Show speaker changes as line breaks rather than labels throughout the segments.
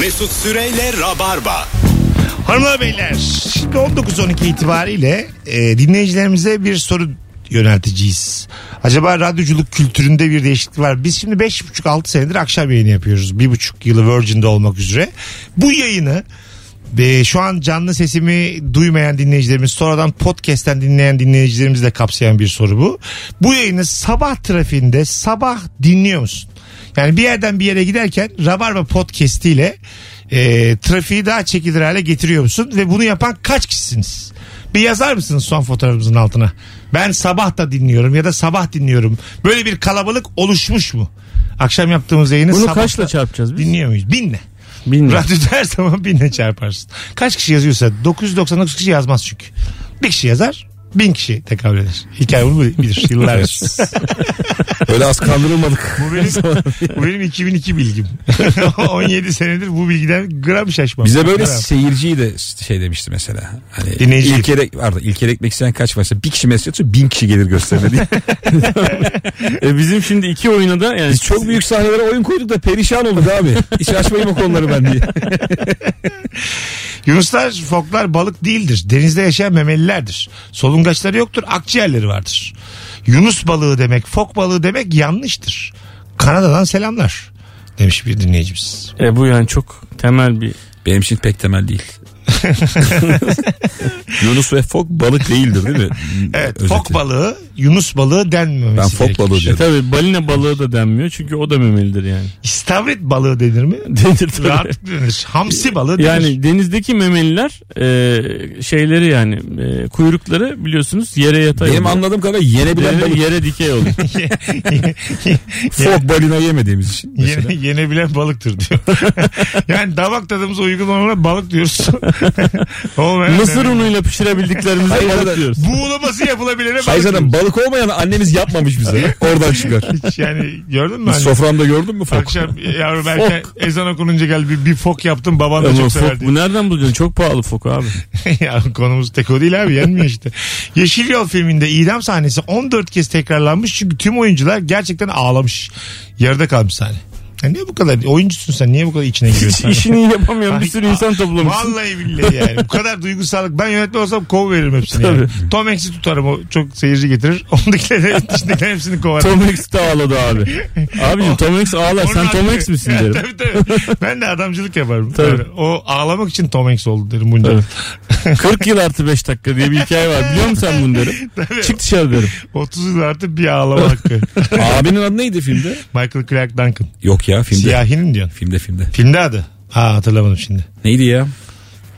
Mesut Süreyle Rabarba.
Hanımlar beyler şimdi 19.12 itibariyle e, dinleyicilerimize bir soru yönelteceğiz. Acaba radyoculuk kültüründe bir değişiklik var. Biz şimdi 5,5-6 senedir akşam yayını yapıyoruz. 1,5 yılı Virgin'de olmak üzere. Bu yayını e, şu an canlı sesimi duymayan dinleyicilerimiz sonradan podcast'ten dinleyen dinleyicilerimiz de kapsayan bir soru bu. Bu yayını sabah trafiğinde sabah dinliyor musun? Yani bir yerden bir yere giderken Rabarba Podcast ile e, trafiği daha çekilir hale getiriyor musun? Ve bunu yapan kaç kişisiniz? Bir yazar mısınız son fotoğrafımızın altına? Ben sabah da dinliyorum ya da sabah dinliyorum. Böyle bir kalabalık oluşmuş mu? Akşam yaptığımız yayını
Bunu
sabah
kaçla çarpacağız biz?
dinliyor muyuz? Binle.
Bilmiyorum.
Radyoda her zaman binle çarparsın. Kaç kişi yazıyorsa 999 kişi yazmaz çünkü. Bir kişi yazar bin kişi tekabül eder. Hikaye bunu bilir yıllardır.
Böyle az kandırılmadık.
bu, benim, bu benim 2002 bilgim. 17 senedir bu bilgiden gram şaşmam.
Bize böyle
Gram.
seyirciyi de şey demişti mesela. Hani
Dinleyici.
İlker'e, pardon İlker'e ekmek isteyen kaç varsa bir kişi mesaj atıyor bin kişi gelir gösterine diye.
E bizim şimdi iki oyuna da yani
Biz çok büyük sahnelere oyun koyduk da perişan olduk abi. Hiç açmayayım o konuları ben diye.
Yunuslar, foklar balık değildir. Denizde yaşayan memelilerdir. Solungaçları yoktur, akciğerleri vardır. Yunus balığı demek, fok balığı demek yanlıştır. Kanada'dan selamlar demiş bir dinleyicimiz.
E bu yani çok temel bir
Benim için pek temel değil. Yunus ve fok balık değildir değil mi?
Evet,
Özeti.
fok balığı, Yunus balığı denmemesi
Ben fok
gerekir.
balığı
E
diyorum.
tabi balina balığı da denmiyor çünkü o da memelidir yani.
İstavrit balığı denir mi?
Denir tabii.
Rahat denir. Hamsi balığı denir.
Yani denizdeki memeliler e, şeyleri yani e, kuyrukları biliyorsunuz yere yatay
Benim
oluyor.
anladığım kadarıyla yenebilen
Yere-
balık.
yere dikey oluyor.
Fok balina yemediğimiz için. mesela.
Yene, yenebilen balıktır diyor. yani damak tadımıza uygun olana balık diyoruz. Olmayan
Mısır
memeli.
unuyla pişirebildiklerimize
Hayır,
balık
zaten-
diyoruz.
Buğulaması yapılabilene balık
Hayır zaten
diyoruz.
balık olmayan annemiz yapmamış bize. Oradan çıkar.
Hiç yani gördün mü?
Biz
hani?
soframda gördün mü fok?
Akşam yavrum erken ezan okununca gel bir, bir fok yaptım baban da
Ama
çok
fok,
severdi.
bu nereden bulacaksın? Çok pahalı fok abi.
ya konumuz tek o değil abi yenmiyor işte. Yeşil Yol filminde idam sahnesi 14 kez tekrarlanmış çünkü tüm oyuncular gerçekten ağlamış. Yarıda kalmış sahne. Ya niye bu kadar oyuncusun sen niye bu kadar içine
Hiç
giriyorsun?
işini yapamayan bir sürü insan toplamışsın.
Vallahi billahi yani. Bu kadar duygusallık. Ben yönetmen olsam kov veririm hepsini. Yani. Tom Hanks'i tutarım. O çok seyirci getirir. Ondakileri içindekilerin hepsini kovarım.
Tom Hanks de ağladı abi. Abiciğim Tom Hanks ağlar.
Onun
Sen Tom
adamı-
Hanks misin
Ya,
derim.
tabii, tabii. Ben de adamcılık yaparım.
Tabii.
Yani o ağlamak için Tom Hanks oldu derim bunca.
Evet. 40 yıl artı 5 dakika diye bir hikaye var. Biliyor musun sen bunu derim.
Tabii.
Çık dışarı derim.
30 yıl artık bir ağlama hakkı.
Abinin adı neydi filmde?
Michael Clark Duncan.
Yok ya filmde.
Siyahinin diyorsun.
Filmde filmde.
Filmde adı. Ha hatırlamadım şimdi.
Neydi ya?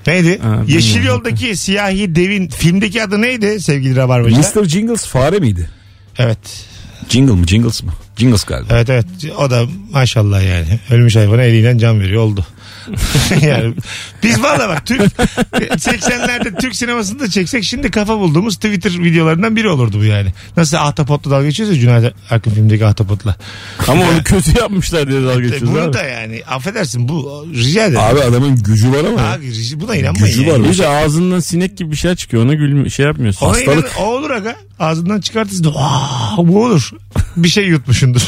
Neydi?
Ha,
Yeşil
bilmiyorum.
Yol'daki siyahi devin filmdeki adı neydi sevgili Rabarbacılar?
Mr. Jingles fare miydi?
Evet.
Jingle mı? Jingles mı? Jingles galiba.
Evet evet. O da maşallah yani. Ölmüş hayvana eliyle can veriyor. Oldu. yani biz valla bak Türk 80'lerde Türk sinemasını da çeksek şimdi kafa bulduğumuz Twitter videolarından biri olurdu bu yani. Nasıl Ahtapot'la dalga geçiyorsa Cüneyt Arkın filmdeki Ahtapot'la.
Ama onu kötü yapmışlar diye dalga
E,
geçiyoruz
bunu
abi.
da yani affedersin bu rica ederim.
Abi adamın gücü var ama.
Abi, rica- buna inanmayın.
Gücü
yani.
var.
İyice ağzından sinek gibi bir şey çıkıyor. Ona gülme, şey yapmıyorsun.
Ona inan, o olur aga. Ağzından çıkartırsın. da, "Aa, bu olur. Bir şey yutmuşundur.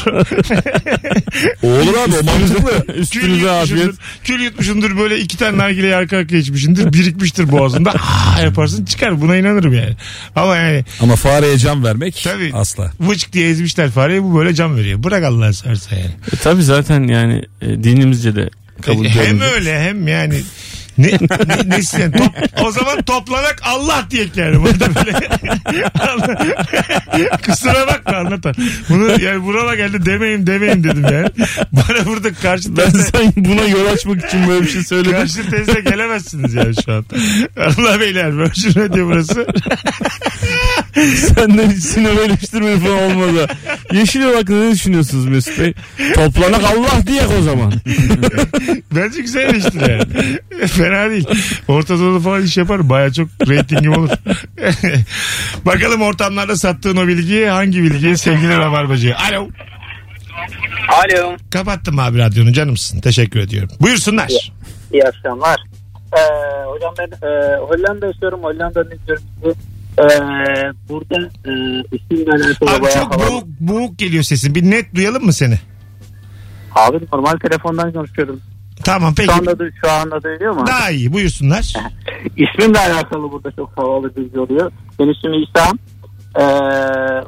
O olur abi o mantıklı.
Kül
Üstünüze afiyet.
yutmuşundur. Kül yutmuşundur böyle iki tane nargileyi arka arkaya içmişindir. Birikmiştir boğazında. Ah yaparsın çıkar. Buna inanırım yani. Ama yani
Ama fareye can vermek
Tabii.
asla.
vıçk diye ezmişler fareyi bu böyle can veriyor. Bırak Allah'ını seversen yani.
E, tabii zaten yani e, dinimizce de kabul
E, hem
görmüyor.
öyle hem yani ne, ne, ne sen- top, o zaman toplanak Allah diye yani burada böyle. Kusura bakma anlatan. Bunu yani burama geldi demeyin demeyin dedim yani. Bana burada karşı
Ben
tezle-
sen buna yol açmak için böyle bir şey söyledim.
Karşı tezle gelemezsiniz yani şu an. Allah beyler Virgin Radio burası.
Senden hiç sinema eleştirmeni şey falan olmadı. Yeşil yol hakkında ne düşünüyorsunuz Mesut Bey? Toplanak Allah diyek o zaman.
Bence güzel eleştiri yani. Fena değil. Orta Doğu'da falan iş yapar. Baya çok reytingim olur. Bakalım ortamlarda sattığın o bilgiyi hangi bilgiyi sevgili Rabarbacı. Alo.
Alo.
Kapattım abi radyonu canımsın. Teşekkür ediyorum. Buyursunlar.
İyi akşamlar. Ee, hocam ben e, Hollanda yaşıyorum. Hollanda'nın görüntüsü e, burada e, isimle alakalı
Abi
bayağı
çok
havalı.
boğuk, boğuk geliyor sesin. Bir net duyalım mı seni?
Abi normal telefondan konuşuyorum.
Tamam peki.
Şu anda, duy- şu anda duyuyor mu?
Daha iyi buyursunlar.
İsmimle alakalı burada çok havalı bilgi oluyor. Benim ismim İsa. Ee,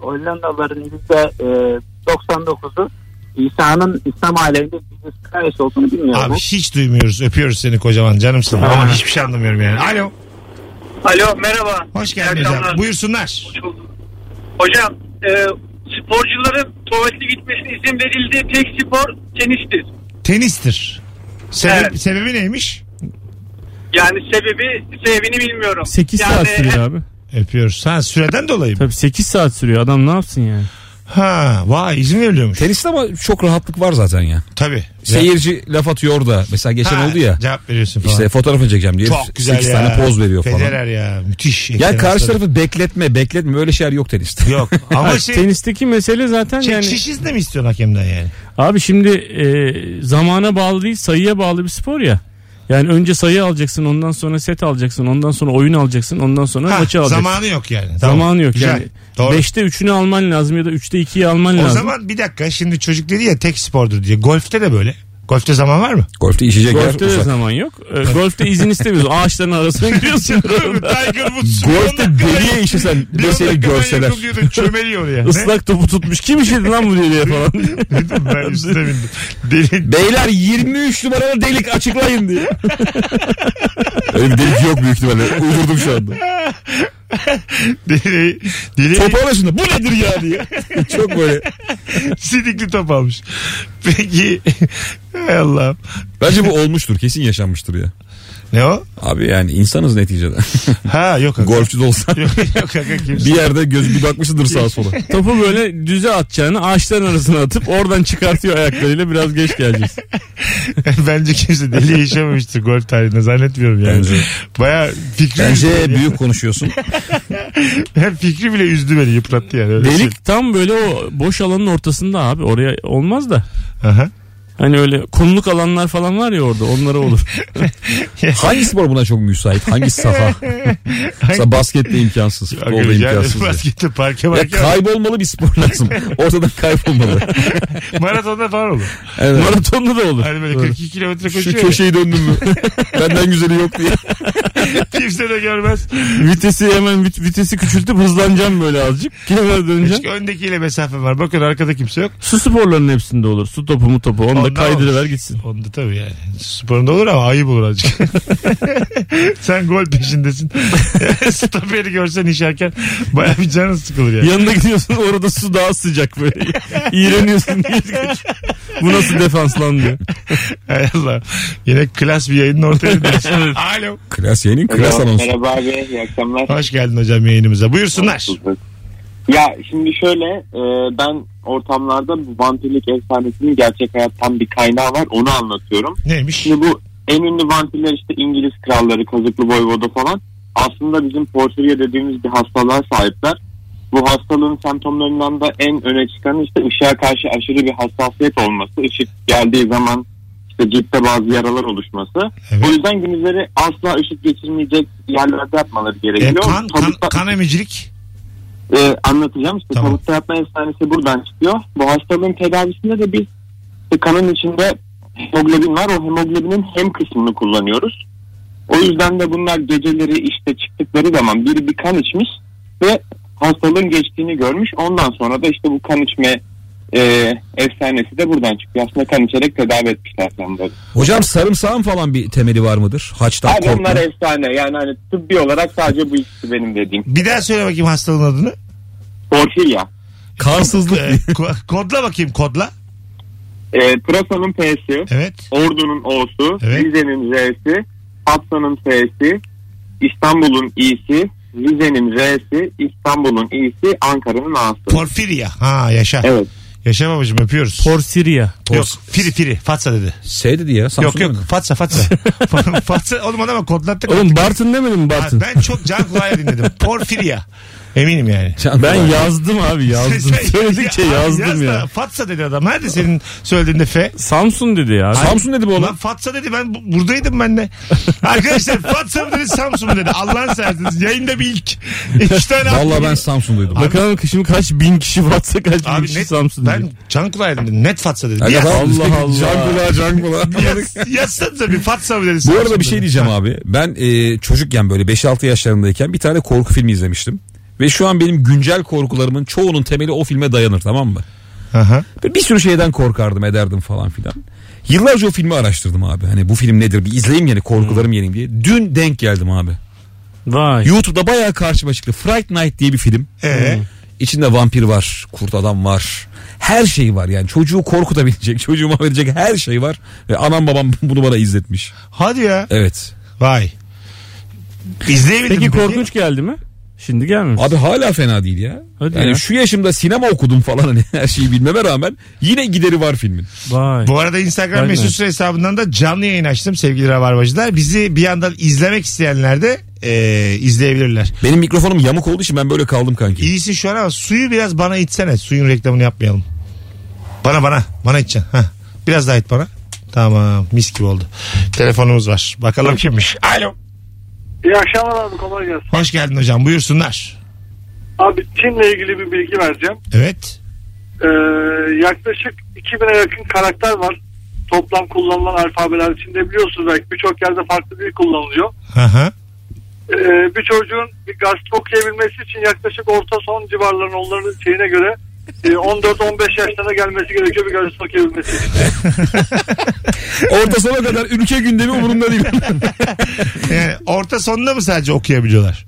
Hollandalıların yüzde e, 99'u İsa'nın İslam aleminde Jesus Christ olduğunu bilmiyor
Abi
mu?
hiç duymuyoruz. Öpüyoruz seni kocaman canımsın. Ama hiçbir şey anlamıyorum yani. Alo.
Alo merhaba.
Hoş
İyi
geldin
akşamlar.
hocam. Buyursunlar.
Hocam e, sporcuların tuvaletli gitmesine izin verildiği tek spor tenistir.
Tenistir. Sebep,
Evet.
Sebebi neymiş?
Yani sebebi sebebini bilmiyorum.
8
yani,
saat sürüyor abi.
Öpüyoruz. Ha süreden dolayı mı?
Tabii 8 saat sürüyor adam ne yapsın yani?
Ha vay izin veriliyormuş.
Teniste ama çok rahatlık var zaten ya.
Tabii.
Seyirci laf atıyor orada. Mesela geçen
Ha,
Şey oldu ya.
Cevap veriyorsun falan.
İşte fotoğrafını çekeceğim diye
Çok güzel
8
ya.
tane poz veriyor falan.
Federer ya müthiş.
Ya
Eksen
karşı
hastalığı.
tarafı bekletme bekletme böyle şeyler yok teniste.
Yok ama şey,
Tenisteki mesele zaten
şey
yani.
çişiz de mi istiyorsun hakemden yani?
Abi şimdi e, zamana bağlı değil sayıya bağlı bir spor ya. Yani önce sayı alacaksın ondan sonra set alacaksın ondan sonra oyun alacaksın ondan sonra
Ha,
maçı alacaksın.
zamanı yok yani. Tamam.
Zamanı yok
Güzel.
yani.
Doğru.
5'te 3'ünü alman lazım ya da 3'te 2'yi alman
o
lazım.
zaman bir dakika şimdi çocuk dedi ya tek spordur diye. Golf'te de böyle. Golf'te zaman var mı?
Golfte işecek yer
Golf'te de
uzak.
zaman yok. E, golf'te izin istemiyorsun. Ağaçların arasına giriyorsun.
Tiger Woods.
Golf'te deliye işesen
Bir
ne seni
dakika ben
görseler.
yokum diyordun, Çömeliyor ya.
Islak topu tutmuş. Kim işledi lan bu diye falan.
Ne? Dedim ben üstüne bindim. Deli.
Beyler 23 numaralı delik açıklayın diye. Öyle bir delik yok büyük ihtimalle. Uydurdum şu anda.
Deli. Deli.
Topu arasında bu nedir ya diye. Çok böyle.
Sidikli top almış. Peki. Hay Allah'ım.
Bence bu olmuştur. Kesin yaşanmıştır ya.
Ne o?
Abi yani insanız neticede.
Ha yok. aga.
Golfçü de olsan
Yok, yok aga kimse.
bir yerde göz bir bakmışıdır sağa sola.
Topu böyle düze atacağını ağaçların arasına atıp oradan çıkartıyor ayaklarıyla biraz geç geleceğiz.
Bence kimse deli yaşamamıştır golf tarihinde zannetmiyorum yani.
Bence.
Baya fikri,
Bence büyük konuşuyorsun.
Hem fikri bile üzdü beni yıprattı yani. Öyle söyleyeyim.
Delik tam böyle o boş alanın ortasında abi oraya olmaz da.
Aha.
Hani öyle kumluk alanlar falan var ya orada onlara olur.
Hangi spor buna çok müsait? Hangi saha? Mesela baskette imkansız. Futbolda
Aga, yani
imkansız. ya.
baskette parke
Ya
marke
kaybolmalı bir spor lazım. Ortadan kaybolmalı.
maratonda falan olur.
Evet.
Maratonda da olur.
Hani böyle 42 kilometre
Şu
koşuyor. ya.
köşeyi döndüm mü? Benden güzeli yok diye.
Kimse de görmez.
Vitesi hemen vit- vitesi küçültüp hızlanacağım böyle azıcık. Kenara döneceğim.
Çünkü öndekiyle mesafe var. Bakın arkada kimse yok.
Su sporlarının hepsinde olur. Su topu mu topu. Onu da
Onda
kaydırıver
olur.
gitsin.
Onda tabii yani. Sporunda olur ama ayıp olur azıcık. Sen gol peşindesin. Stoperi görsen işerken baya bir canın sıkılır yani.
Yanına gidiyorsun orada su daha sıcak böyle. İğreniyorsun diye kaçıyor. Bu nasıl defans lan diyor.
Hay Allah. Yine klas bir yayının ortaya dönüyorsun. Alo.
Klas yayının klas
Merhaba,
anonsu.
Merhaba abi iyi akşamlar.
Hoş geldin hocam yayınımıza. Buyursunlar.
Ya şimdi şöyle e, ben ortamlarda bu vampirlik efsanesinin gerçek hayattan bir kaynağı var onu anlatıyorum.
Neymiş?
Şimdi bu en ünlü vampirler işte İngiliz kralları, kazıklı voyvoda falan. Aslında bizim porfiriye dediğimiz bir hastalığa sahipler. Bu hastalığın semptomlarından da en öne çıkan işte ışığa karşı aşırı bir hassasiyet olması. Işık geldiği zaman işte ciltte bazı yaralar oluşması.
Evet.
O yüzden günleri asla ışık geçirmeyecek yerlerde yapmaları
E,
gerekiyor.
kan, kan,
Tabutta-
kan emicilik.
e, anlatacağım. İşte
Tamam.
tavukta yapma efsanesi buradan çıkıyor. Bu hastalığın tedavisinde de biz işte kanın içinde hemoglobin var. O hemoglobinin hem kısmını kullanıyoruz. O yüzden de bunlar geceleri işte çıktıkları zaman biri bir kan içmiş ve hastalığın geçtiğini görmüş. Ondan sonra da işte bu kan içme e, efsanesi de buradan çıkıyor. Aslında kan içerek tedavi etmişler sanırım.
Hocam sarımsağın falan bir temeli var mıdır? Haçtan
Abi
korkma.
onlar efsane. Yani hani tıbbi olarak sadece bu ikisi benim dediğim.
Bir daha söyle bakayım hastalığın adını.
Porfirya.
Kansızlık.
E, ko- kodla bakayım kodla.
E, Pırasa'nın P'si.
Evet.
Ordu'nun O'su,
Evet.
Rize'nin R'si, Patsa'nın S'si, İstanbul'un İ'si, Rize'nin R'si, İstanbul'un İ'si, Ankara'nın A'sı.
Porfiria. Ha yaşa.
Evet.
Yaşa babacığım öpüyoruz.
Porsiria.
yok. Firi firi. Fatsa dedi.
Şey dedi ya. Samsun'da
yok yok.
mıydı?
Fatsa Fatsa. fatsa. Oğlum adama kodlattık.
Oğlum Bartın demedin mi
Ha,
Bartın?
ben çok can kulağıyla dinledim. Porfiria. Eminim yani.
Ben yazdım abi yazdım. Söyledikçe
Abi Şey, yaz
yazdım
da
ya.
Fatsa dedi adam. Nerede senin söylediğinde F?
Samsun dedi ya.
Samsun dedi bu
Ulan
oğlum.
Fatsa dedi ben bu- buradaydım ben de. Arkadaşlar Fatsa mı dedi Samsun mu dedi. Allah'ın seversiniz. Yayında bir ilk. İki tane
Vallahi ben Samsun'daydım. Bak,
Bakalım şimdi kaç bin kişi Fatsa kaç bin
Abi
kişi
net,
Samsun dedi.
ben can kulağıydım dedim. Net Fatsa dedim.
Aga,
Yaz,
Allah Allah.
Can kulağı can kulağı.
yaz, yazsanıza bir Fatsa mı dedi.
Bu
Samsun
arada bir şey
dedi.
diyeceğim abi. Ben e, çocukken böyle 5-6 yaşlarındayken bir tane korku filmi izlemiştim. Ve şu an benim güncel korkularımın çoğunun temeli o filme dayanır tamam mı?
Aha.
Böyle bir sürü şeyden korkardım ederdim falan filan. Yıllarca o filmi araştırdım abi. Hani bu film nedir bir izleyeyim yani korkularım yeneyim diye. Dün denk geldim abi.
Vay.
YouTube'da bayağı karşıma çıktı. Fright Night diye bir film. Hmm.
Ee,
İçinde vampir var, kurt adam var. Her şey var yani. Çocuğu korkutabilecek, çocuğu mahvedecek her şey var. Ve anam babam bunu bana izletmiş.
hadi ya.
Evet.
Vay. İzleyebildim.
Peki korkunç geldi mi? Şimdi gelmemiş.
Abi hala fena değil ya.
Hadi
yani
ya.
şu yaşımda sinema okudum falan hani her şeyi bilmeme rağmen yine gideri var filmin.
Vay.
Bu arada Instagram
Aynen.
mesut süre hesabından da canlı yayın açtım sevgili rabarbacılar. Bizi bir yandan izlemek isteyenler de e, izleyebilirler.
Benim mikrofonum yamuk olduğu için ben böyle kaldım kanki.
İyisi şu an ama suyu biraz bana içsene. Suyun reklamını yapmayalım. Bana bana. Bana içeceksin. Heh. Biraz daha it bana. Tamam mis gibi oldu. Telefonumuz var. Bakalım kimmiş. Alo.
İyi akşamlar abi kolay gelsin.
Hoş geldin hocam buyursunlar.
Abi Çin'le ilgili bir bilgi vereceğim.
Evet.
Ee, yaklaşık 2000'e yakın karakter var. Toplam kullanılan alfabeler içinde biliyorsunuz belki birçok yerde farklı dil kullanılıyor.
Hı hı.
Ee, bir çocuğun bir gazete okuyabilmesi için yaklaşık orta son civarlarının onların şeyine göre e, 14-15 yaşlarına gelmesi gerekiyor bir gazete okuyabilmesi için.
Orta sona kadar ülke gündemi umurumda değil.
Yani orta sonunda mı sadece okuyabiliyorlar?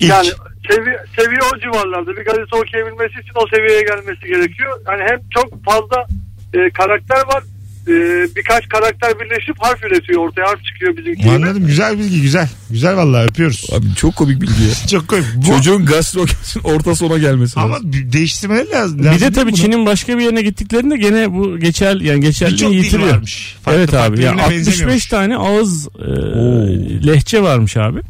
İlk.
Yani sevi- seviye o civarlarda bir gazete okuyabilmesi için o seviyeye gelmesi gerekiyor. Yani hem çok fazla e, karakter var. e, birkaç karakter birleşip harf üretiyor ortaya harf çıkıyor bizimki.
Anladım güzel bilgi güzel. Güzel vallahi öpüyoruz.
Abi çok komik bilgi ya.
Çok komik. Bu-
Çocuğun gastro orta sona gelmesi.
ama bir değiştirmeleri lazım.
Bir de
Lazım
tabii
değil mi
Çin'in başka bir yerine gittiklerinde gene bu geçer yani
bunun? Birçok
geçerliğini
dil
yitiriyor.
varmış. Farklı
evet
farklı
abi. ya
birbirine
65
benzemiyormuş.
tane ağız e, lehçe varmış abi.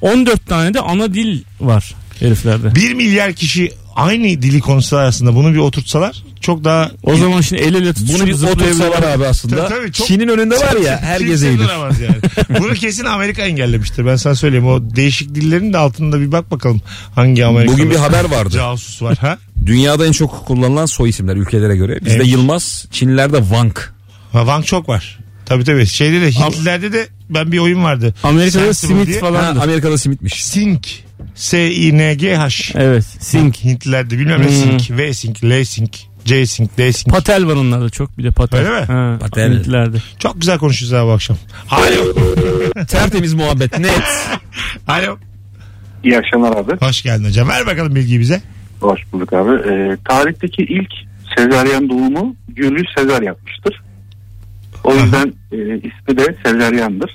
14 tane de ana dil var heriflerde.
Bir milyar kişi aynı dili konuşsalar aslında bunu bir oturtsalar çok daha
O zaman şimdi el ele tutuşup
Bunu bir otursalar
zıplayabilirler.
abi aslında.
Tabii, tabii, çok-
Çin'in önünde var ya herkes
Kimse
eğilir.
duramaz yani. Bunu kesin Amerika engellemiştir. Ben sana söyleyeyim. O değişik dillerin de altında bir bak bakalım hangi Amerika.
Bugün bir haber vardı.
Casus var ha.
Dünyada en çok kullanılan soy isimler ülkelere göre. Bizde
Evet.
Yılmaz, Çinlilerde Vank.
ha Wang çok var. Tabii tabii. Şeyde de Hintlilerde de ben bir oyun vardı.
Amerika'da
Sensible diye.
simit
Ha,
falan. da-
Amerika'da simitmiş.
Sync. S I N G H.
Evet. Sink.
Hintlilerde bilmem ne
Hmm.
sync, V sync, L sync, J sync, D sync.
Patel var onlarda çok bir de patel.
Öyle mi?
Ha,
Patel.
Amerikalilerde.
Çok güzel konuşuyoruz abi bu akşam. Alo.
Tertemiz muhabbet net.
Alo.
İyi akşamlar abi.
Hoş geldin hocam. Ver bakalım bilgiyi bize.
Hoş bulduk abi. Ee, tarihteki ilk sezaryen doğumu Julius Sezar yapmıştır. O yüzden e, ismi de Sezaryen'dir.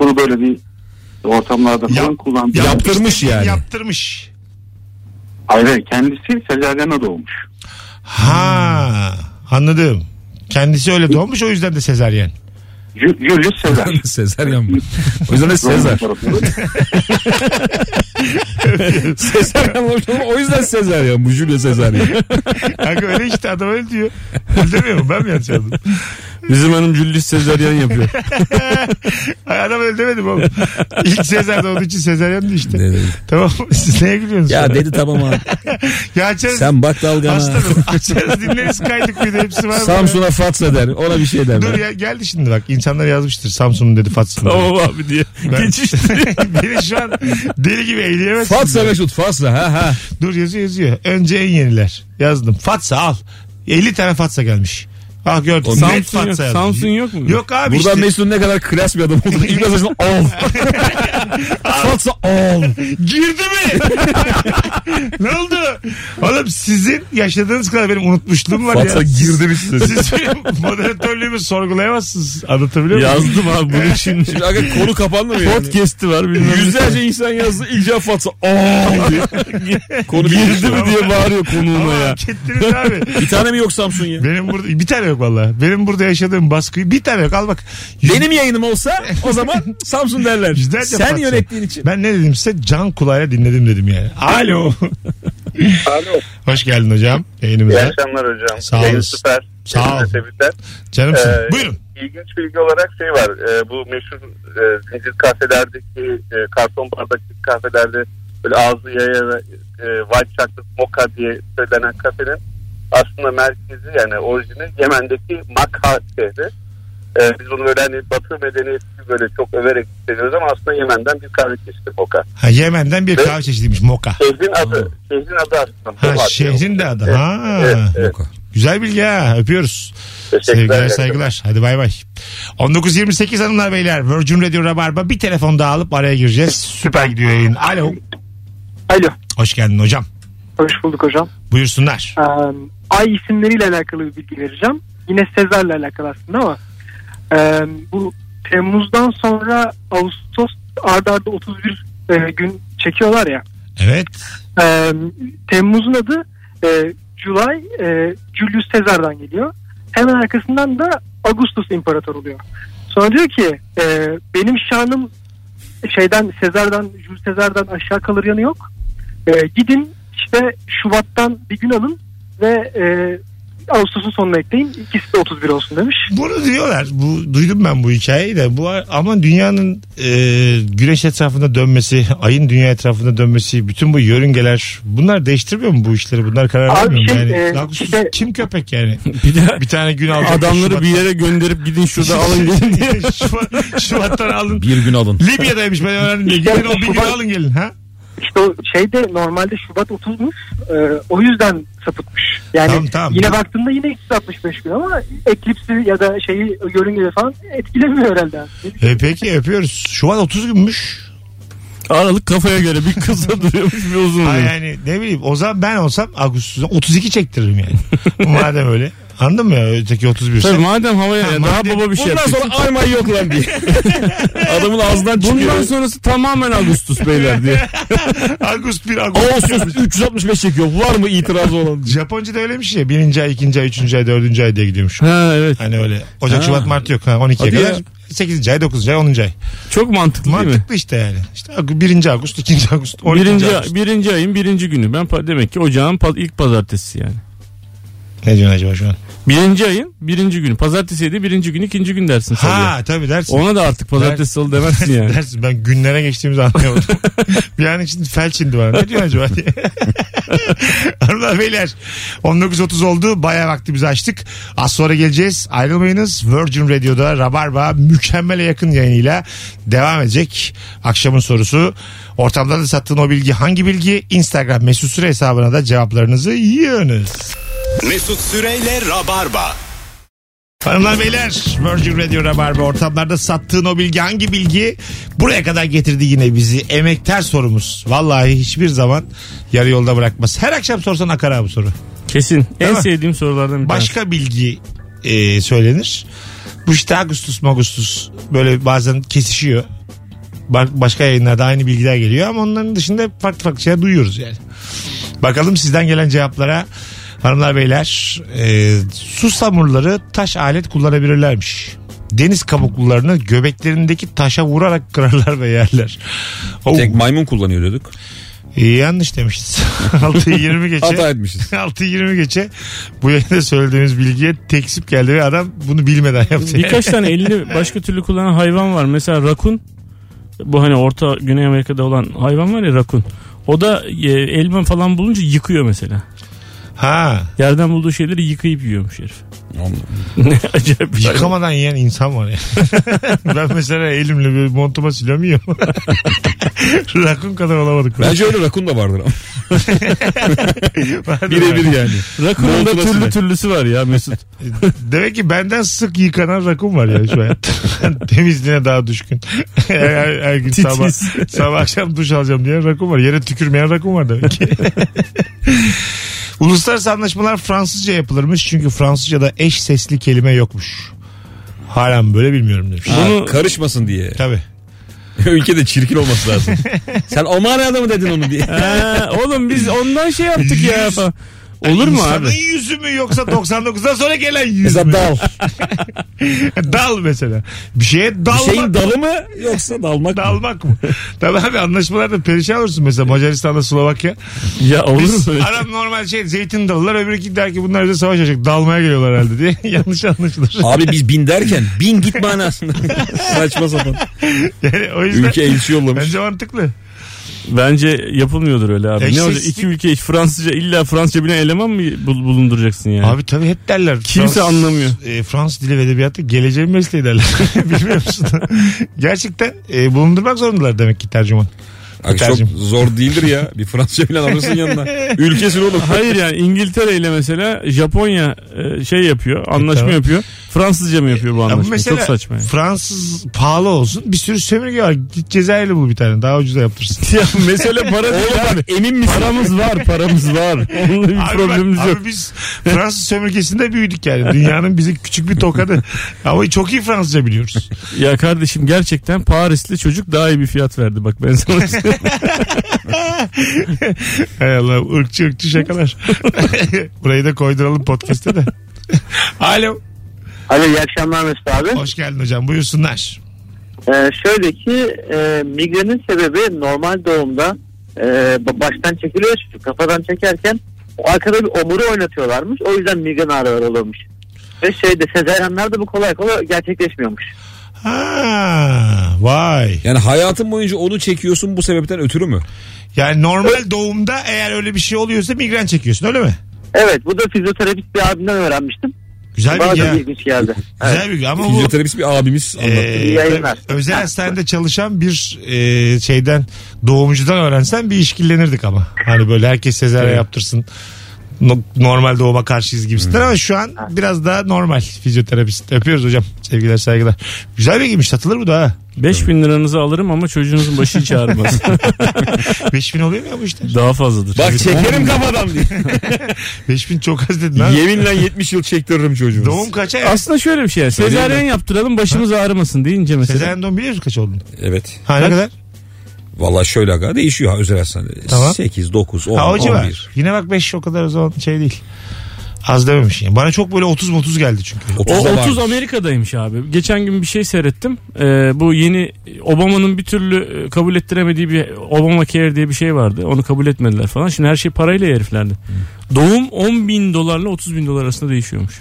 Bunu böyle bir ortamlarda falan
Yap-
kullandı.
Yaptırmış yani.
Yaptırmış.
Hayır kendisi Sezaryen'e doğmuş.
Ha anladım. Kendisi öyle doğmuş o yüzden de sezaryen.
Ju- Julius Sezar.
Sezar yanma. O yüzden de Sezar. Sezar yanmış oğlum. O yüzden Sezar yanmış. Julio Sezar yanmış.
Kanka öyle işte adam öyle diyor. Öldürmüyor mu? Ben mi yanlış anladım?
Bizim hanım Julius Sezaryen yapıyor.
Ay, adam öyle demedi mi oğlum? İlk Sezar doğduğu için sezaryendi işte.
Ne dedi?
Tamam siz neye gülüyorsunuz?
ya dedi tamam abi.
ya açarız.
Sen bak dalgana.
Aslanım açarız dinleriz kaydık bir de hepsi var. mı?
Samsun'a Fatsa der. Ona bir şey der.
Dur ya geldi şimdi bak insanlar yazmıştır Samsun'un dedi Fatsın.
tamam abi diye. Geçişti.
Beni şu an deli gibi eğleyemezsin.
Fatsa Mesut Fatsa ha ha.
Dur yazıyor yazıyor. Önce en yeniler. Yazdım. Fatsa al. 50 tane Fatsa gelmiş. Ah gördün.
Oğlum,
Net
Samsun yok,
Fatsa yazdım.
Samsun yok mu?
Yok abi
Buradan
işte.
Mesut'un ne kadar klas bir adam olduğunu ilk mesajını al. Fatsa al.
Girdi mi? ne oldu? Oğlum sizin yaşadığınız kadar benim unutmuşluğum var
Fatsa
ya.
girdi bir sürü.
Siz benim moderatörlüğümü sorgulayamazsınız. Anlatabiliyor muyum?
Yazdım abi bunu şimdi.
Şimdi aga konu kapandı mı yani?
Podcast'i var bilmem. ne.
Yüzlerce insan yazdı ilk cevap Fatsa al diye. Konu
Girdi mi diye bağırıyor konuğuna
Ama
ya.
hak ettiniz abi.
Bir tane mi yok Samsun ya?
Benim burada bir tane yok valla. Benim burada yaşadığım baskıyı bir tane yok al bak. Yüz-
Benim yayınım olsa o zaman Samsun derler.
yüzlerce
Sen
patron.
yönettiğin için.
Ben ne dedim size can kulağıyla dinledim dedim yani. Alo.
Alo.
Hoş geldin hocam
İyi
yayınımıza.
akşamlar hocam.
Sağ
Yayın
olun.
süper.
Sağ
Yayınla
olun.
Tebrikler.
Canımsın.
Ee,
Buyurun.
İlginç bilgi olarak şey var. e, bu meşhur e, zincir kafelerdeki e, karton bardaktaki kafelerde böyle ağzı yaya ve, e, white chocolate mocha diye söylenen kafenin aslında merkezi yani orijini Yemen'deki Makka şehri. E, biz bunu böyle hani batı medeniyeti böyle çok överek seviyoruz ama aslında Yemen'den bir kahve çeşidi moka.
Ha, Yemen'den bir
Ve-
kahve çeşidiymiş moka.
Şehrin adı. Şehrin adı aslında.
Ha,
Moka.
şehrin de adı.
Evet,
Ha.
evet, evet.
Güzel bilgi ha. Öpüyoruz.
Teşekkürler.
Sevgiler saygılar. Hadi bay bay. 19.28 hanımlar beyler. Virgin Radio Rabarba bir telefon daha alıp araya gireceğiz. Süper gidiyor yayın. Alo.
Alo.
Hoş geldin hocam.
Hoş bulduk hocam.
Buyursunlar.
Ee, ay isimleriyle alakalı bir bilgi vereceğim. Yine Sezar'la alakalı aslında ama e, bu Temmuz'dan sonra Ağustos arda arda 31 e, gün çekiyorlar ya.
Evet.
E, Temmuz'un adı e, July e, Julius Sezar'dan geliyor. Hemen arkasından da Augustus imparator oluyor. Sonra diyor ki e, benim şanım şeyden Sezar'dan Julius Sezar'dan aşağı kalır yanı yok. E, gidin işte Şubat'tan bir gün alın ve e, Ağustos'un sonuna ekleyin. İkisi de 31 olsun demiş.
Bunu diyorlar. Bu duydum ben bu hikayeyi de. Bu ama dünyanın e, güneş etrafında dönmesi, ayın dünya etrafında dönmesi, bütün bu yörüngeler bunlar değiştirmiyor mu bu işleri? Bunlar karar
Abi
vermiyor mu?
şey,
yani,
e,
Haklısın.
işte-
kim köpek yani?
Bir de
Bir tane gün alacak.
adamları bir yere gönderip gidin şurada alın gelin diye.
Şubat, Şubat'tan alın.
Bir gün alın.
Libya'daymış ben öğrendim diye. Gidin o bir gün alın gelin. Ha?
İşte o şeyde şey normalde Şubat 30'muş. E, o yüzden sapıtmış. Yani
Tamam, tamam.
yine baktığında yine 365 gün ama eklipsi ya da şeyi yörüngeleri falan etkilemiyor herhalde.
E, peki öpüyoruz. Şubat 30 günmüş.
Aralık kafaya göre bir kısa duruyormuş bir uzun
Ha
duruyor.
yani ne bileyim o zaman ben olsam Ağustos'ta 32 çektiririm yani. Madem öyle. Anladın mı ya? Öteki 31
Tabii madem havaya
Ha,
daha
madem-
baba bir şey
Bundan
yapacak.
sonra ay may yok lan diye. Adamın ağzından çıkıyor.
Bundan sonrası tamamen Ağustos beyler diye.
Ağustos 1 Ağustos.
Ağustos 365 çekiyor. Var mı itirazı olan?
Japonca'da öylemiş ya. Birinci ay, ikinci ay, üçüncü ay, dördüncü ay diye gidiyormuş.
Ha evet.
Hani öyle. Ocak,
Ha.
Şubat, Mart yok. Ha, 12'ye
Hadi
kadar.
ya.
8. ay, 9. ay, 10. ay.
Çok mantıklı değil mi?
Mantıklı işte yani. İşte birinci Ağustos, ikinci Ağustos, 12.
Birinci,
Ağustos.
birinci ayın birinci günü. Ben pa- demek ki ocağın pa- ilk pazartesi yani.
Ne diyorsun acaba şu an?
Birinci ayın birinci günü. Pazartesiydi birinci gün ikinci gün dersin salıya.
Ha tabii dersin.
Ona da artık pazartesi salı demezsin yani.
dersin ben günlere geçtiğimizi anlayamadım. bir an için felç indi bana. Ne diyor acaba diye. Hanımlar beyler 19.30 oldu. Bayağı vaktimizi açtık. Az sonra geleceğiz. Ayrılmayınız. Virgin Radio'da Rabarba mükemmele yakın yayınıyla devam edecek. Akşamın sorusu ortamlarda da sattığın o bilgi hangi bilgi? Instagram mesut süre hesabına da cevaplarınızı yığınız.
Mesut Süreyle Rabarba.
Hanımlar beyler Virgin Radio Rabarba ortamlarda sattığın o bilgi hangi bilgi buraya kadar getirdi yine bizi emektar sorumuz. Vallahi hiçbir zaman yarı yolda bırakmaz. Her akşam sorsan akar abi soru.
Kesin. en
mi?
sevdiğim sorulardan bir tanesi.
Başka bilgi e, söylenir. Bu işte Ağustos Magustus böyle bazen kesişiyor. Ba- başka yayınlarda aynı bilgiler geliyor ama onların dışında hep farklı farklı şeyler duyuyoruz yani. Bakalım sizden gelen cevaplara hanımlar beyler e, su samurları taş alet kullanabilirlermiş. Deniz kabuklularını göbeklerindeki taşa vurarak kırarlar ve yerler. Oo,
Tek maymun kullanıyor diyorduk.
e, yanlış demişiz. 6'yı 20 geçe.
Hata etmişiz.
6.20 geçe bu yayında söylediğimiz bilgiye teksip geldi ve adam bunu bilmeden yaptı.
Birkaç tane elini başka türlü kullanan hayvan var. Mesela rakun. Bu hani Orta Güney Amerika'da olan hayvan var ya rakun. O da e, elma falan bulunca yıkıyor mesela.
Ha,
Yerden bulduğu şeyleri yıkayıp yiyormuş herif. Ne acayip bir şey.
yıkamadan yiyen insan var ya. ben mesela elimle böyle montuma siliyorum yiyorum. Rakun kadar olamadık.
Bence öyle rakun da vardır ama.
Vardır
Birebir yani.
Rakunun da
Montulası
türlü
ne?
türlüsü var ya Mesut.
yani. Demek ki benden sık yıkanan rakun var ya şu hayatta. Temizliğine daha düşkün. her, her- her gün sabah,
Titiz.
sabah akşam duş alacağım diyen rakun var. Yere tükürmeyen rakun var demek ki. Uluslararası anlaşmalar Fransızca yapılırmış çünkü Fransızca'da eş sesli kelime yokmuş. Hala mı böyle bilmiyorum demiş.
Ha,
Bunu-
karışmasın diye.
Tabii.
Ülkede çirkin olması lazım. Sen o manada mı dedin onu diye.
Ha, oğlum biz ondan şey yaptık ya. falan. Olur mu
İnsanın
abi?
yüzü mü yoksa 99'dan sonra gelen yüz
Mesela
mü?
dal.
Dal mesela. Bir şeye
Bir
dalmak.
şeyin dalı mı yoksa dalmak mı?
Dalmak mı? Tabii abi anlaşmalarda perişan olursun mesela Macaristan'da Slovakya.
Ya olur
Biz
mu?
Adam normal şey zeytin dalılar öbürü der ki bunlar bize savaş açacak dalmaya geliyorlar herhalde diye yanlış anlaşılır.
Abi biz bin derken bin git manasında. Saçma sapan.
Yani o yüzden
Ülke elçi yollamış.
bence mantıklı.
Bence yapılmıyordur öyle abi.
Eşsizlik-
Ne olacak? İki ülke hiç Fransızca illa Fransızca bilen eleman mı bul- bulunduracaksın yani?
Abi tabii hep derler.
Kimse
Fransız-
anlamıyor.
E, Fransız dili ve edebiyatı geleceğin mesleği derler. Bilmiyor musun? Gerçekten e, bulundurmak zorundalar demek ki tercüman.
Abi çok
Tercüm.
zor değildir ya. Bir Fransızca bilen alırsın yanına. Ülkesin oğlum.
Hayır yani İngiltere ile mesela Japonya e, şey yapıyor, anlaşma
tamam.
yapıyor. Fransızca mı yapıyor bu
Ama
anlaşmayı?
mesela
Çok saçma yani.
Fransız pahalı olsun bir sürü sömürge var. Git Cezayirli bul bir tane daha ucuza yaptırsın.
Ya mesele para değil abi. Emin misin? Paramız var, paramız var. Onunla bir
Abi,
problemimiz
bak-
yok.
abi biz Fransız sömürgesinde büyüdük yani. Dünyanın bize küçük bir tokadı. Ama çok iyi Fransızca biliyoruz.
Ya kardeşim gerçekten Parisli çocuk daha iyi bir fiyat verdi bak ben sana söyleyeyim.
Hay Allah ırkçı ırkçı şakalar. Burayı da koyduralım podcast'e de. Alo.
Alo iyi akşamlar Mesut abi.
Hoş geldin hocam buyursunlar.
Ee, şöyle ki e, migrenin sebebi normal doğumda e, ba- baştan çekiliyor çünkü kafadan çekerken o arkada bir omuru oynatıyorlarmış. O yüzden migren ağrıları olurmuş. Ve şey şeyde sezeryanlarda bu kolay kolay gerçekleşmiyormuş.
Ha, vay.
Yani hayatın boyunca onu çekiyorsun bu sebepten ötürü mü?
Yani normal doğumda eğer öyle bir şey oluyorsa migren çekiyorsun öyle mi?
Evet bu da fizyoterapist bir abimden öğrenmiştim.
Güzel bir
Bana da
ya.
bir ilginç geldi.
Güzel bir ama bu
Fizyoterapist bir abimiz anlattı.
Ee,
İyi yayınlar.
tabii özel hastanede çalışan bir e, şeyden doğumcudan öğrensen bir işkillenirdik ama. Hani böyle herkes sezaryen yaptırsın. No- normal doğuma karşıyız gibisinden ama şu an biraz daha normal fizyoterapist. Öpüyoruz hocam. Sevgiler saygılar. Güzel bilgiymiş satılır bu da ha.
5000 liranızı alırım ama çocuğunuzun başı hiç ağrımaz.
5000 oluyor mu ya bu işte?
daha fazladır.
Bak çekerim kafadan diye.
5000 çok az dedin ha.
Yeminle 70 yıl çektiririm çocuğumu.
Doğum kaça ya?
Aslında şöyle bir şey. yani,
Söyleyeyim
Sezaryen yaptıralım başımız ağrımasın deyince mesela.
Sezaryen doğum biliyor musun kaç olduğunu?
Evet.
Ha ne kadar?
Valla şöyle aga değişiyor ha özel hastanede.
Tamam.
8, 9, 10,
Ha o civar.
11.
Yine bak 5 o kadar o zaman şey değil. Az dememiş. Yani. Bana çok böyle 30-30 geldi çünkü.
30
O 30
Amerika.
Amerika'daymış abi. Geçen gün bir şey seyrettim. Ee, bu yeni Obama'nın bir türlü e, kabul ettiremediği bir Obama Care diye bir şey vardı. Onu kabul etmediler falan. Şimdi her şey parayla ya heriflerde. Doğum 10 bin dolarla 30 bin dolar arasında değişiyormuş.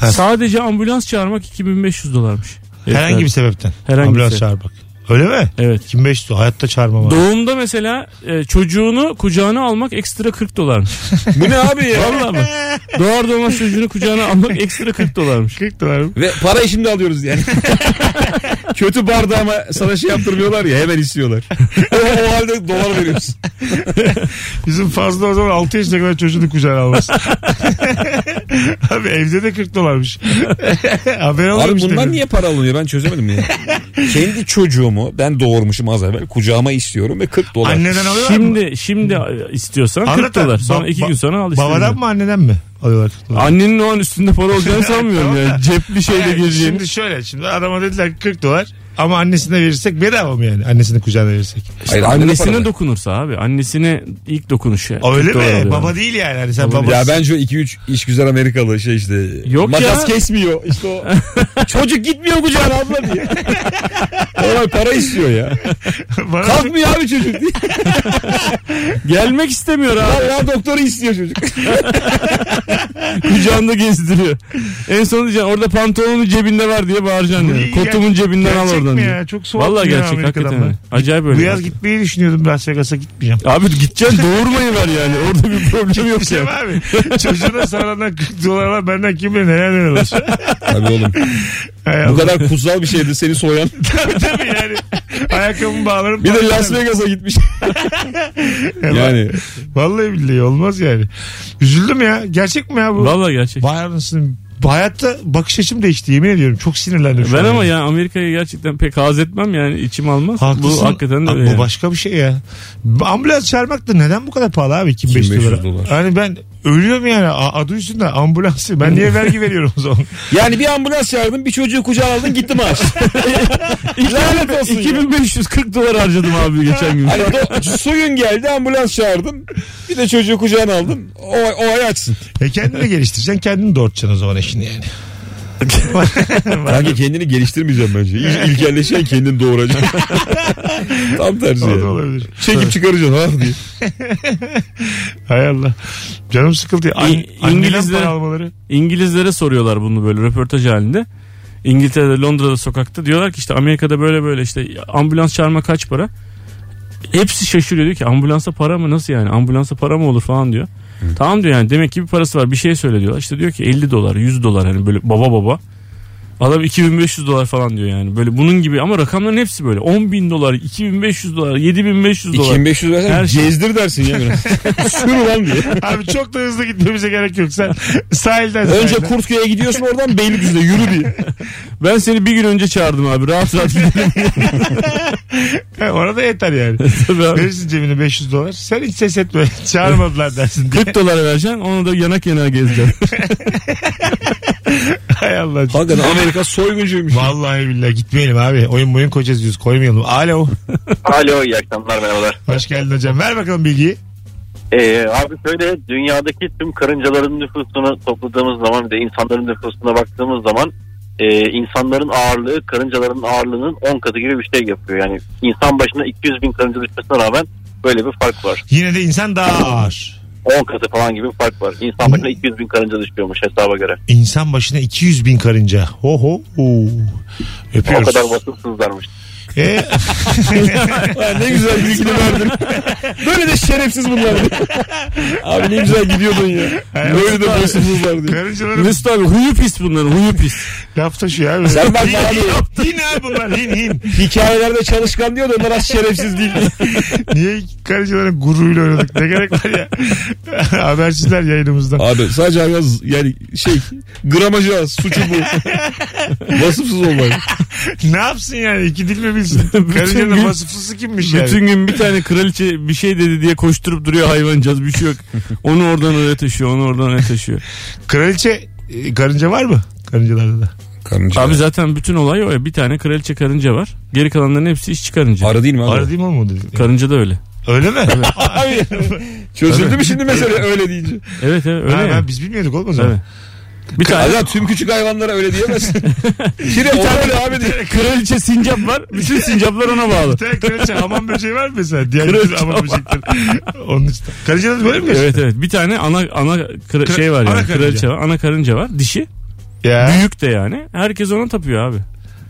Ha.
Sadece ambulans çağırmak 2500 dolarmış.
Herhangi
Herifler.
bir sebepten.
Herhangi bir
Ambulans
sebep.
çağır bak. Öyle mi?
Evet.
2500 hayatta çağırmam. abi.
Doğumda mesela e, çocuğunu kucağına almak ekstra 40 dolarmış.
Bu ne abi ya?
Vallahi mı? Doğar doğmaz çocuğunu kucağına almak ekstra 40 dolarmış.
40 dolar mı?
Ve parayı şimdi alıyoruz yani. Kötü bardağıma sana şey yaptırmıyorlar ya hemen istiyorlar. o, o halde dolar veriyorsun.
Bizim fazla o zaman 6 yaşına kadar çocuğunu kucağına almaz. Abi evde de 40 dolarmış. Haber
Abi
olmamış
bundan
demin.
niye para alınıyor ben çözemedim ya. Kendi çocuğumu ben doğurmuşum az evvel kucağıma istiyorum ve 40 dolar.
Anneden alıyorlar mı?
Şimdi şimdi istiyorsan 40
Anlatan-
dolar. Sonra
ba-
2 gün sonra al istediğini.
Babadan mı anneden mi alıyorlar 40 dolar?
Annenin o an üstünde para olacağını sanmıyorum yani. Cepli şeyle
Yani
gireceğini.
Şimdi şöyle şimdi adama dediler ki 40 dolar ama annesine verirsek bedava mı yani annesini kucağına verirsek?
Hayır, annene para
Annesine
ver.
dokunursa abi. Annesine ilk dokunuşu.
Öyle
40 dolar
mi?
alıyor.
Baba değil yani hani sen babası.
Ya bence o 2-3 işgüzar Amerikalı şey işte.
Yok
makas
ya.
kesmiyor. İşte o. Çocuk gitmiyor kucağına abla diye. Normal para istiyor ya.
Bana-
Kalkmıyor abi çocuk diye.
Gelmek istemiyor abi.
Vallahi doktoru istiyor çocuk.
Kucağında gezdiriyor. En son diyeceksin orada pantolonun cebinde var diye bağıracaksın
Bu
yani.
iyi ger-
Kotumun cebinden al
gerçek
oradan
mi
diye.
ya? Çok soğuk
Vallahi
ya
gerçek
Amerika'dan
hakikaten. öyle. Acayip öyle.
Bu yaz gitmeyi düşünüyordum Las Vegas'a gitmeyeceğim.
Abi gideceksin doğurmayı ver yani. Orada bir problem yok
Gitmeyeceğim
ya.
abi. şey Çocuğuna sarılan 40 dolarla benden kim bilir neler neler olur.
Tabii oğlum.
Hay
Bu
Allah.
kadar kutsal bir şeydi seni soyan.
tabii tabii yani. Ayakkabımı bağlarım.
Bir de Las Vegas'a gitmiş. yani
Vallahi billahi olmaz yani. Üzüldüm ya. Gerçek mi ya bu?
Vallahi gerçek.
Vay anasını. Hayatta bakış açım değişti yemin ediyorum. Çok sinirlendim şu an.
Ben ama ya Amerika'yı gerçekten pek haz etmem yani içim almaz.
Haklısın.
Bu hakikaten de
Abi
öyle.
Bu
yani.
başka bir şey ya. Ambulans çağırmak da neden bu kadar pahalı abi 2500
2500
dolara?
dolar.
Hani ben Ölüyor mu yani? A- adı üstünde ambulansı. Ben niye vergi veriyorum o zaman?
Yani bir ambulans çağırdın bir çocuğu kucağına aldın gitti maaş. Lanet olsun ya.
2540 dolar harcadım abi geçen gün.
Hani do- suyun geldi ambulans çağırdın. Bir de çocuğu kucağına aldın. O, o ay açsın.
E kendini de geliştireceksin. Kendini doğurtacaksın o zaman eşini yani.
Kanka kendini geliştirmeyeceğim bence. İl, ilkelleşen kendini doğuracak. Tam tersi.
O da
Yani.
olabilir.
Çekip çıkaracaksın ha diye.
Hay Allah. Canım sıkıldı. An-
İ-
İngilizler...
İngilizler-
para almaları.
İngilizlere soruyorlar bunu böyle röportaj halinde. İngiltere'de Londra'da sokakta diyorlar ki işte Amerika'da böyle böyle işte ambulans çağırma kaç para? Hepsi şaşırıyor diyor ki ambulansa para mı nasıl yani ambulansa para mı olur falan diyor. Tamam diyor yani demek ki bir parası var bir şey söyle diyorlar. İşte diyor ki 50 dolar 100 dolar hani böyle baba baba. Adam 2500 dolar falan diyor yani böyle bunun gibi ama rakamların hepsi böyle 10 bin dolar 2500 dolar 7500 dolar.
2500 versen
Her şey.
gezdir dersin ya biraz. Sür ulan diye.
Abi çok da hızlı gitmemize gerek yok. Sen sahilden
Önce
sahilden.
Kurtköy'e gidiyorsun oradan Beylikdüzü'ne yürü diye.
Ben seni bir gün önce çağırdım abi rahat rahat gidelim.
He, Orada yeter yani.
Tabii abi.
Verirsin cebine 500 dolar. Sen hiç ses etme. Çağırmadılar dersin diye.
40 dolara vereceksin onu da yanak yana gezeceksin.
Hay Allah.
Hakikaten Amerika soyguncuymuş.
Vallahi billahi gitmeyelim abi. Oyun boyun koyacağız yüz koymayalım. Alo.
Alo iyi akşamlar merhabalar.
Hoş geldin hocam. Ver bakalım bilgiyi.
Ee, abi şöyle dünyadaki tüm karıncaların nüfusunu topladığımız zaman bir de insanların nüfusuna baktığımız zaman e, insanların ağırlığı karıncaların ağırlığının 10 katı gibi bir şey yapıyor. Yani insan başına 200 bin karınca düşmesine rağmen böyle bir fark var.
Yine de insan daha ağır.
10 katı falan gibi bir fark var. İnsan başına 200 bin karınca düşüyormuş hesaba göre.
İnsan başına 200 bin karınca. Ho ho. ho.
O
Öpüyoruz.
kadar vasıfsızlarmış.
E,
ne güzel bilgini verdin. Böyle de şerefsiz bunlar. Abi ne güzel gidiyordun ya. Böyle de boşsuzlar diye.
karıncaların
Mesut abi huyu pis bunların huyu pis.
laf taşıyor abi.
Sen bak bana diyor.
Hin abi bunlar hin hin.
Hikayelerde çalışkan diyor da onlar az şerefsiz değil.
Niye karıncaların gururuyla oynadık? Ne gerek var ya? Habersizler yayınımızda.
Abi sadece yaz yani şey gramajı az suçu bu. Vasıfsız olmayın.
ne yapsın yani? İki dil mi bilsin? Karıncanın
gün-
vasıflısı kimmiş yani?
Bütün gün bir tane kraliçe bir şey dedi diye koşturup duruyor hayvancağız bir şey yok. Onu oradan oraya taşıyor onu oradan oraya taşıyor.
Kraliçe e, karınca var mı? Karıncalarda da.
Karınca.
Abi zaten bütün olay o ya bir tane kraliçe karınca var. Geri kalanların hepsi iş çıkarınca.
Arı değil mi abi?
Var değil mi oğlum o dedi.
Karınca da öyle.
Öyle mi?
Abi çözüldü mü şimdi mesele öyle deyince?
Evet evet öyle
Ha,
yani.
ben- biz bilmiyorduk olmaz mı?
Tabii. Bir tane
Zaten tüm küçük hayvanlara öyle diyemezsin. Kire o öyle abi diye.
kraliçe sincap var. Bütün sincaplar ona bağlı.
Bir tane kraliçe hamam böceği var mı mesela? Diğer bütün hamam böcekleri. Onun için. Karıncalar böyle mi?
Evet evet bir tane ana ana kra-
Kra-
şey var
ana
yani
karınca.
kraliçe var ana karınca var dişi
Ya.
büyük de yani herkes ona tapıyor abi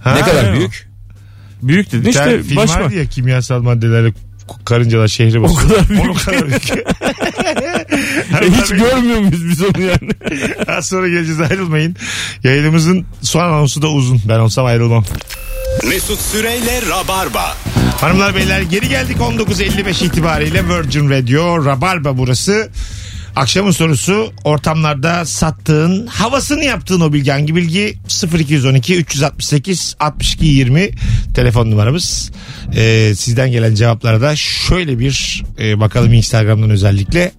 Ha,
Ne kadar
evet.
büyük?
büyük dedin
Bir tane
işte
film
baş
vardı ya kimyasal maddelerle k- karıncalar şehri basıyor.
kadar büyük.
O kadar büyük. Her
E, hiç
haber-
görmüyor muyuz biz onu yani?
Az sonra geleceğiz ayrılmayın. Yayınımızın son anonsu da uzun. Ben olsam ayrılmam.
Mesut Süreyle Rabarba.
Hanımlar beyler geri geldik 19.55 itibariyle Virgin Radio Rabarba burası. Akşamın sorusu ortamlarda sattığın havasını yaptığın o bilgi hangi bilgi 0212 368 62 20 telefon numaramız. Ee, sizden gelen cevaplara da şöyle bir e, bakalım Instagram'dan özellikle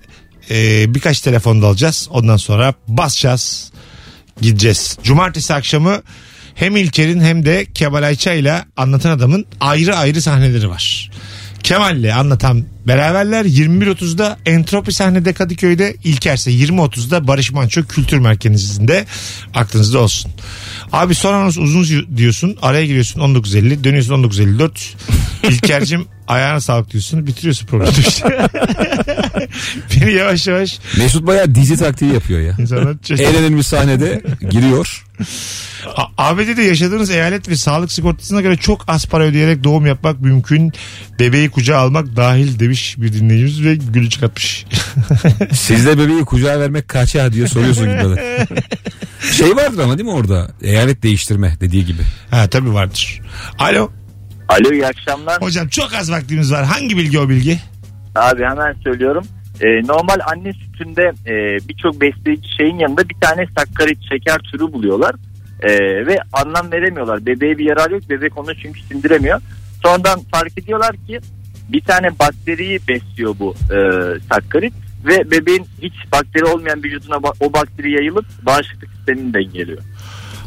Ee, birkaç telefon da alacağız ondan sonra basacağız gideceğiz. Cumartesi akşamı hem İlker'in hem de Kemal Ayça ile anlatan adamın ayrı ayrı sahneleri var. Kemal'le anlatan beraberler 21.30'da Entropi sahnede Kadıköy'de İlker ise 20.30'da Barış Manço Kültür Merkezi'nde aklınızda olsun. Abi son anons uzun diyorsun araya giriyorsun 19.50 dönüyorsun 19.54 İlker'cim ayağına sağlık diyorsun bitiriyorsun programı işte. Beni yavaş yavaş
Mesut bayağı dizi taktiği yapıyor ya.
insanlar
Eğlenilmiş sahnede giriyor.
A- ABD'de yaşadığınız eyalet ve sağlık sigortasına göre çok az para ödeyerek doğum yapmak mümkün. Bebeği kucağa almak dahil demiş bir dinleyicimiz ve gülü çıkartmış.
Sizde bebeği kucağa vermek kaça diye soruyorsun gibi. de. şey vardır ama değil mi orada? Eyalet değiştirme dediği gibi.
ha tabii vardır. Alo
Alo iyi akşamlar.
hocam çok az vaktimiz var. Hangi bilgi o bilgi?
Abi hemen söylüyorum. Ee, normal anne sütünde e, birçok besleyici şeyin yanında bir tane sakkarit şeker türü buluyorlar. Ee, ve anlam veremiyorlar. Bebeğe bir yarar yok. Bebek onu çünkü sindiremiyor. Sonradan fark ediyorlar ki bir tane bakteriyi besliyor bu e, sakkarit. ve bebeğin hiç bakteri olmayan vücuduna ba- o bakteri yayılıp bağışıklık sistemini dengeliyor.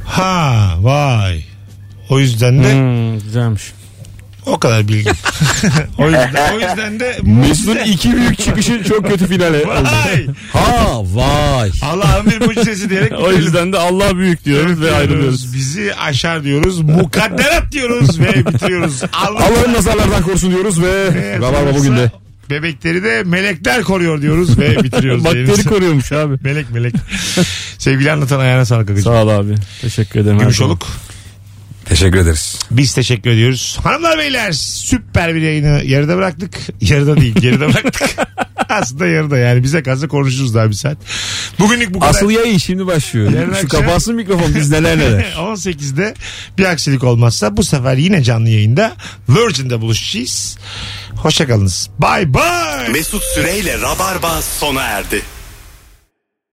Ha vay. O yüzden de
Hmm, güzelmiş.
o kadar bilgi. o, yüzden, o yüzden de
Mesut'un iki büyük çıkışı çok kötü finale oldu.
Vay.
Ha vay.
Allah'ın bir mucizesi diyerek
O yüzden de Allah büyük diyoruz ve ayrılıyoruz.
Bizi aşar diyoruz. Mukadderat diyoruz ve bitiriyoruz.
Allah'ın nazarlardan korusun diyoruz ve Rabarba bugün de.
Bebekleri de melekler koruyor diyoruz ve bitiriyoruz.
Bakteri
yayınımızı.
koruyormuş abi.
Melek melek. Sevgili anlatan ayağına sağlık. Akıcı.
Sağ ol abi. Teşekkür ederim. her zaman.
Gümüşoluk.
Teşekkür ederiz.
Biz teşekkür ediyoruz. Hanımlar beyler süper bir yayını yarıda bıraktık. Yarıda değil geride bıraktık. Aslında yarıda yani bize kalsa konuşuruz daha bir saat. Bugünlük bu kadar.
Asıl yayın şimdi başlıyor.
Yarın
Şu
akşam-
kapansın mikrofon biz neler neler.
18'de bir aksilik olmazsa bu sefer yine canlı yayında Virgin'de buluşacağız. Hoşçakalınız. Bye bye.
Mesut Süreyle Rabarba sona erdi.